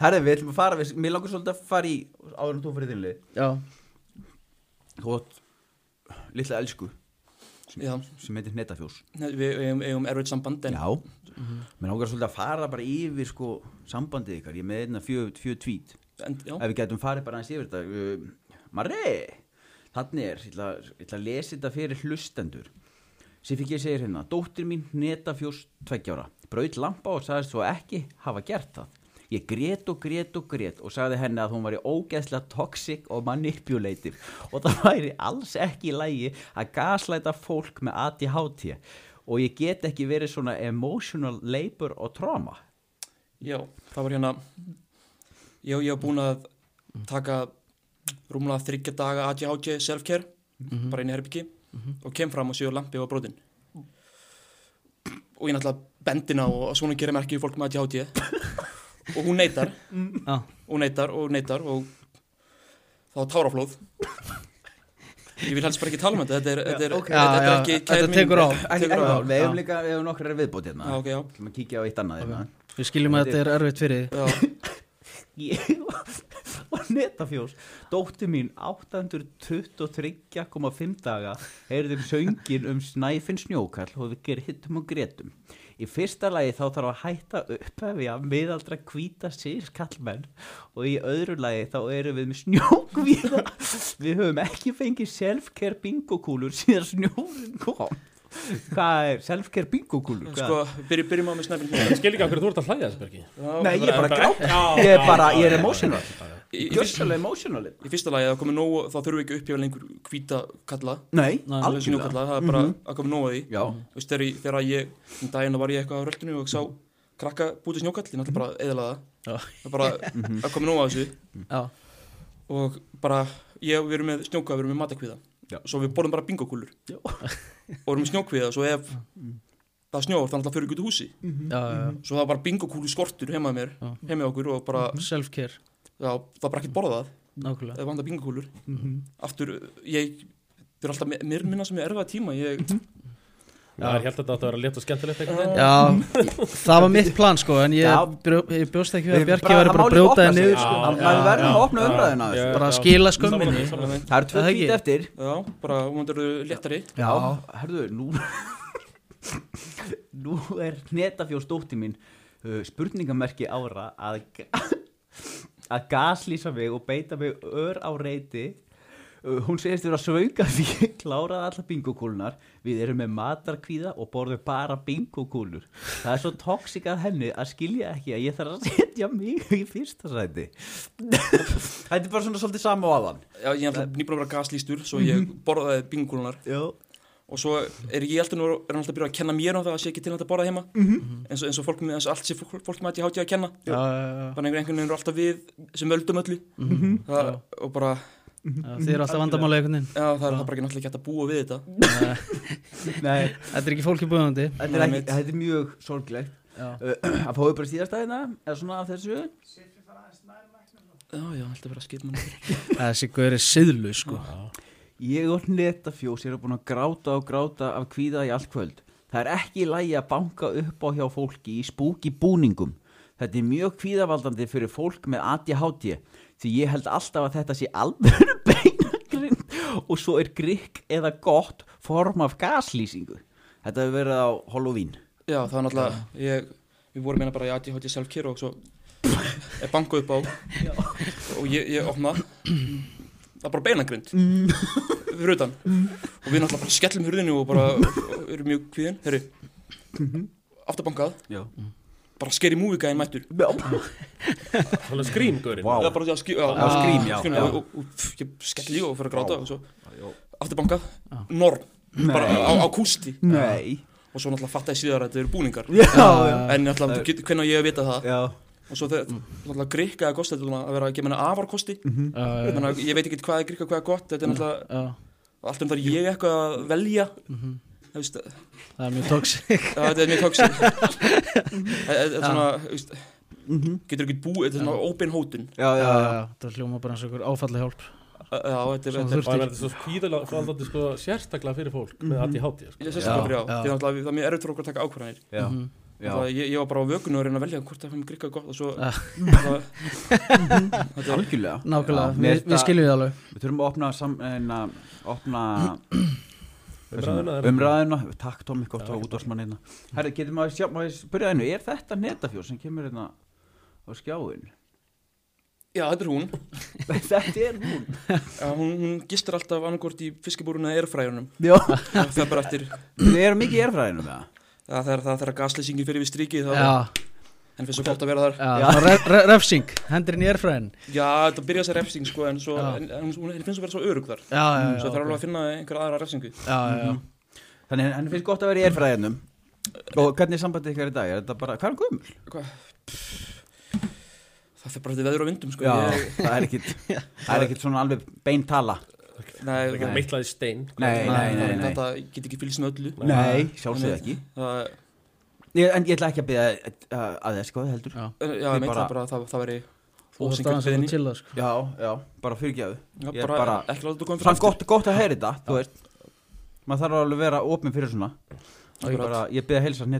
Herði, við ætlum að fara, við, mér langar svolítið að fara í áður en þú fyrir þinn lið Já, Þú átt litla elsku Já, sem heitir Netafjós við við eigum, eigum erfitt samband en Já, mér langar svolítið að fara bara yfir sko sambandið ykkar Ég er með einna fjö, fjö tvít en, já, Ef við getum farið bara aðeins yfir þetta uh, Marri, þannig er, ég ætla, ég ætla að lesa þetta fyrir hlustendur Sifiki segir hérna, dóttir mín netafjós tveggjára, braut lampa og sagðist svo ekki hafa gert það. Ég grét og grét og grét og sagði henni að hún var í ógeðslega toxic og manipulative og það væri alls ekki í lægi að gaslæta fólk með ADHD og ég get ekki verið svona emotional labor og trauma. já, það var hérna Já, ég hef búin að taka rúmlega þryggja daga ADHD self-care Mhm. bara inn í herbyggi og kem fram og séu lampi og brotin og ég náttúrulega bendina og svona gerir merki í fólk með ADHD og hún neytar já, og neytar og neytar og þá táraflóð ég vil helst bara ekki tala um þetta þetta er, þetta er, ok. þetta er Já, já, ekki þetta kær minning. tekur á. Ekki, um Tekur ekki, á. mál, við hefum líka, við hefum nokkrar viðbót hérna. Já, ok, já. Við kíkja á eitt annað hérna. við skiljum að þetta er erfitt fyrir þig. Já, sko, ég og netafjós dóttir mín 823,5 daga heyrðum söngin um snæfinn snjókall og við gerum hittum og gretum í fyrsta lagi þá þarf að hætta upphefja miðaldra hvíta sírskallmenn og í öðru lagi þá erum við með snjókvíða við höfum ekki fengið self-care bingokúlur síðan snjórin kom hvað er self-care bingokúlur? Hvað- sko, byrjum, byrjum á með snæfinn Ég skil ekki okkur þú ert að hlæða þessu bergi Nei, ég er bara grátt Já, Ég er já, bara, já, ég er já, emotional Í, í, fyrst, Gjörsalega emotional í fyrsta lagi, það komið nóg, þá þurfum við ekki að uppgjöfa lengur hvíta kalla Nei, Nei, algjörlega Mhm. snjókalla, það er bara að koma nóg að því Já, Þú veist, þegar, ég- þegar ég, um daginn var ég eitthvað á röldinu og sá krakka búti snjókall, ég náttúrulega bara eðlaða Já. það er bara Mhm. að koma nóg að þessu Já, og bara, ég, við erum með snjóka, við erum með matakvíða Já. svo við borðum bara bingokúlur Já. og erum með snjókvíða, svo ef það snjóar, þannig að fyrir ekki út úr húsi já, já, svo það var bara bingokúlu skortur heima hjá mér Já. heima hjá okkur og bara, Mhm. já. self-care, já, það var bara ekkert borðað nákvæmlega eða vanda bingokúlur Mhm. aftur, ég, þetta er alltaf mér minna sem ég erfaða tíma ég, Það er held að þetta átti að vera létt og skemmtilegt einhvern veginn. Já, það var mitt plan sko, en Já. ég, brjó, ég bjóst ekki við Við að Bjarki bara- væri bara það má líka að brjóta opna það sig. niður Já. sko. En maður verður að opna umræðuna Já, aðeins. já, Bara já. skila skömminni. Sammála, sammála. Það eru tvö Það hvít ekki. eftir já, bara hún er léttari Já, herðu, nú Nú er netafjós dóttir mín uh, spurningamerki ára að að gaslýsa mig og beita mig ör á reyti Uh, hún segist vera svönga því ég kláraði alla bingokúlunar við erum með matarkvíða og borðum bara bingokúlur það er svo toxic að henni að skilja ekki að ég þarf að setja mig í fyrsta sæti þetta er bara svona svolítið sama á aðan já, ég er alltaf nýbúin að vera gaslýstur svo ég borðaði bingokúlunar já, og og svo er ég alltaf nú er hann alltaf að byrja að kenna mér á það að sé ekki til að borða heima mm -hmm. eins, og, eins og fólk með eins og allt sé fólk, fólk með ADHD að kenna Já, já, já. Mhm. þannig einhvern veginn eru alltaf við sem völdum öllu það, og bara Já, Þið eru alltaf vandamála einhvern veginn já, það er það bara ekki náttúrulega gett að búa við þetta nei Þetta er ekki fólki búðandi Þetta er, Nei, ekki, mitt. þetta er mjög sorglegt Já. uh, að fáið bara síðastæðina eða svona af þessu já, já, alltaf bara skip mann Þessi gaur er siðlu sko ég og netafjós eru búin að gráta og gráta af kvíða í allt kvöld það er ekki í lagi að banka upp á hjá fólki í spúki búningum þetta er mjög kvíðavaldandi fyrir fólk með ADHD því ég held alltaf að þetta sé alvöru beinagrind og svo er grikk eða gott form af gaslýsingu þetta hefur verið á Halloween já, það er náttúrulega ég, við vorum meina bara í ADHD self-care og svo er bankuð upp á og ég, ég opna það er bara beinagrind mm. fyrir utan og við náttúrulega bara skellum hurðinu og bara og erum mjög kvíðin herri, aftur bankað já, bara skeri múvika einn mættur Svona skrýmgurinn Vá. Það er bara því að ský- já, Já, skrím, já, skýna já. og, og, og pff, ég skell í og fyrir að gráta Já. og svo aftur bankað, norm bara á, á kústi nei og svo náttúrulega fattaði síðar að þetta eru búningar já, já, en náttúrulega, þú getur- hvernig á ég að vita það já. og svo þegar, náttúrulega grikka eða kosti þetta er náttúrulega að vera að gefa henni afarkosti Já, já, Þannig að ég veit ekki hvað er grikka, hvað er gott Mhm. þetta er náttúrulega, já mhm. allt um þar ég eitthvað að velja þú veist, að- Það er mjög tóksik að þetta er mjög tóksi þetta er svona, þú veist Mhm. getur ekki búið, þetta er svona óbein hótun Já, já, já. Það hljóma bara eins og einhver áfalla hjálp já, þetta er Svona Og það er þetta svo kvíðalandi sko sérstaklega fyrir fólk með ADHD sko. Ég sést það Já, bara, já, já. Því náttúrulega við- það er mjög erfitt fyrir okkur að taka ákvarðanir Já. Mhm. Já. Það, ég, ég var bara á vökunni og reyna að velja hvort það fann grikka gott og svo Ah. það, þetta er Algjörlega Nákvæmlega, Já, mér við, finnst við að- skiljum við alveg Við þurfum að opna, sam, en, að opna Umræðuna, er- umræðuna. Takk Tómi, gott Já, að ekki útvarsmann einna Herri, getur maður, sjá, maður spyrja einu Er þetta netafjóð sem kemur einna á skjáin? Já, þetta er hún þetta er hún Já, Hún, hún gistir alltaf annarkvort í fiskibúruna eða erfræjunum Já, Það fer bara eftir við erum mikið í erfræðinu með það Það það er það þegar gaslýsingin fyrir við strikið þá Já, En finnst svo gott að vera þar já, já. Ref, ref, refsing, hendurinn í erfræðin Já, þetta byrja sér refsing sko en, svo, Já. en, en hún- hún henni finnst að vera svo örug þar Já, já, já, Mm, Svo það ok. þarf alveg að finna einhverja aðra refsingu já, já, já. Þannig henni- henni finnst gott að vera í erfræðinum Og hvernig er sambandið ykkar í dag? Er þetta bara, hvað er hún gömul? Það fer bara eftir veður og vindum sko Já, ég, það er ekkit, það er ekkit svona alveg beintala Nei, Það er ekki að nei, meitlaði stein sko. Nei, nei, nei, nei. Þetta ég get ekki fylgst með öllu Nei. Nei, sjálfsögðu ekki Það, ég, En ég ætla ekki að byrja að þess sko heldur já. já, Ég ég meint bara- það bara að það, það væri Þú þarft ósengjum aðeins að beðinni chilla sko. Já, já, bara fyrirgjáðu Já, Ég er bara, bara- ekki láta þetta koma fyrir Samt gott, gott að heyra þetta, þú veist Maður þarf alveg að vera opinn fyrir svona Ég, Akkurat. bara, ég byrja að heilsa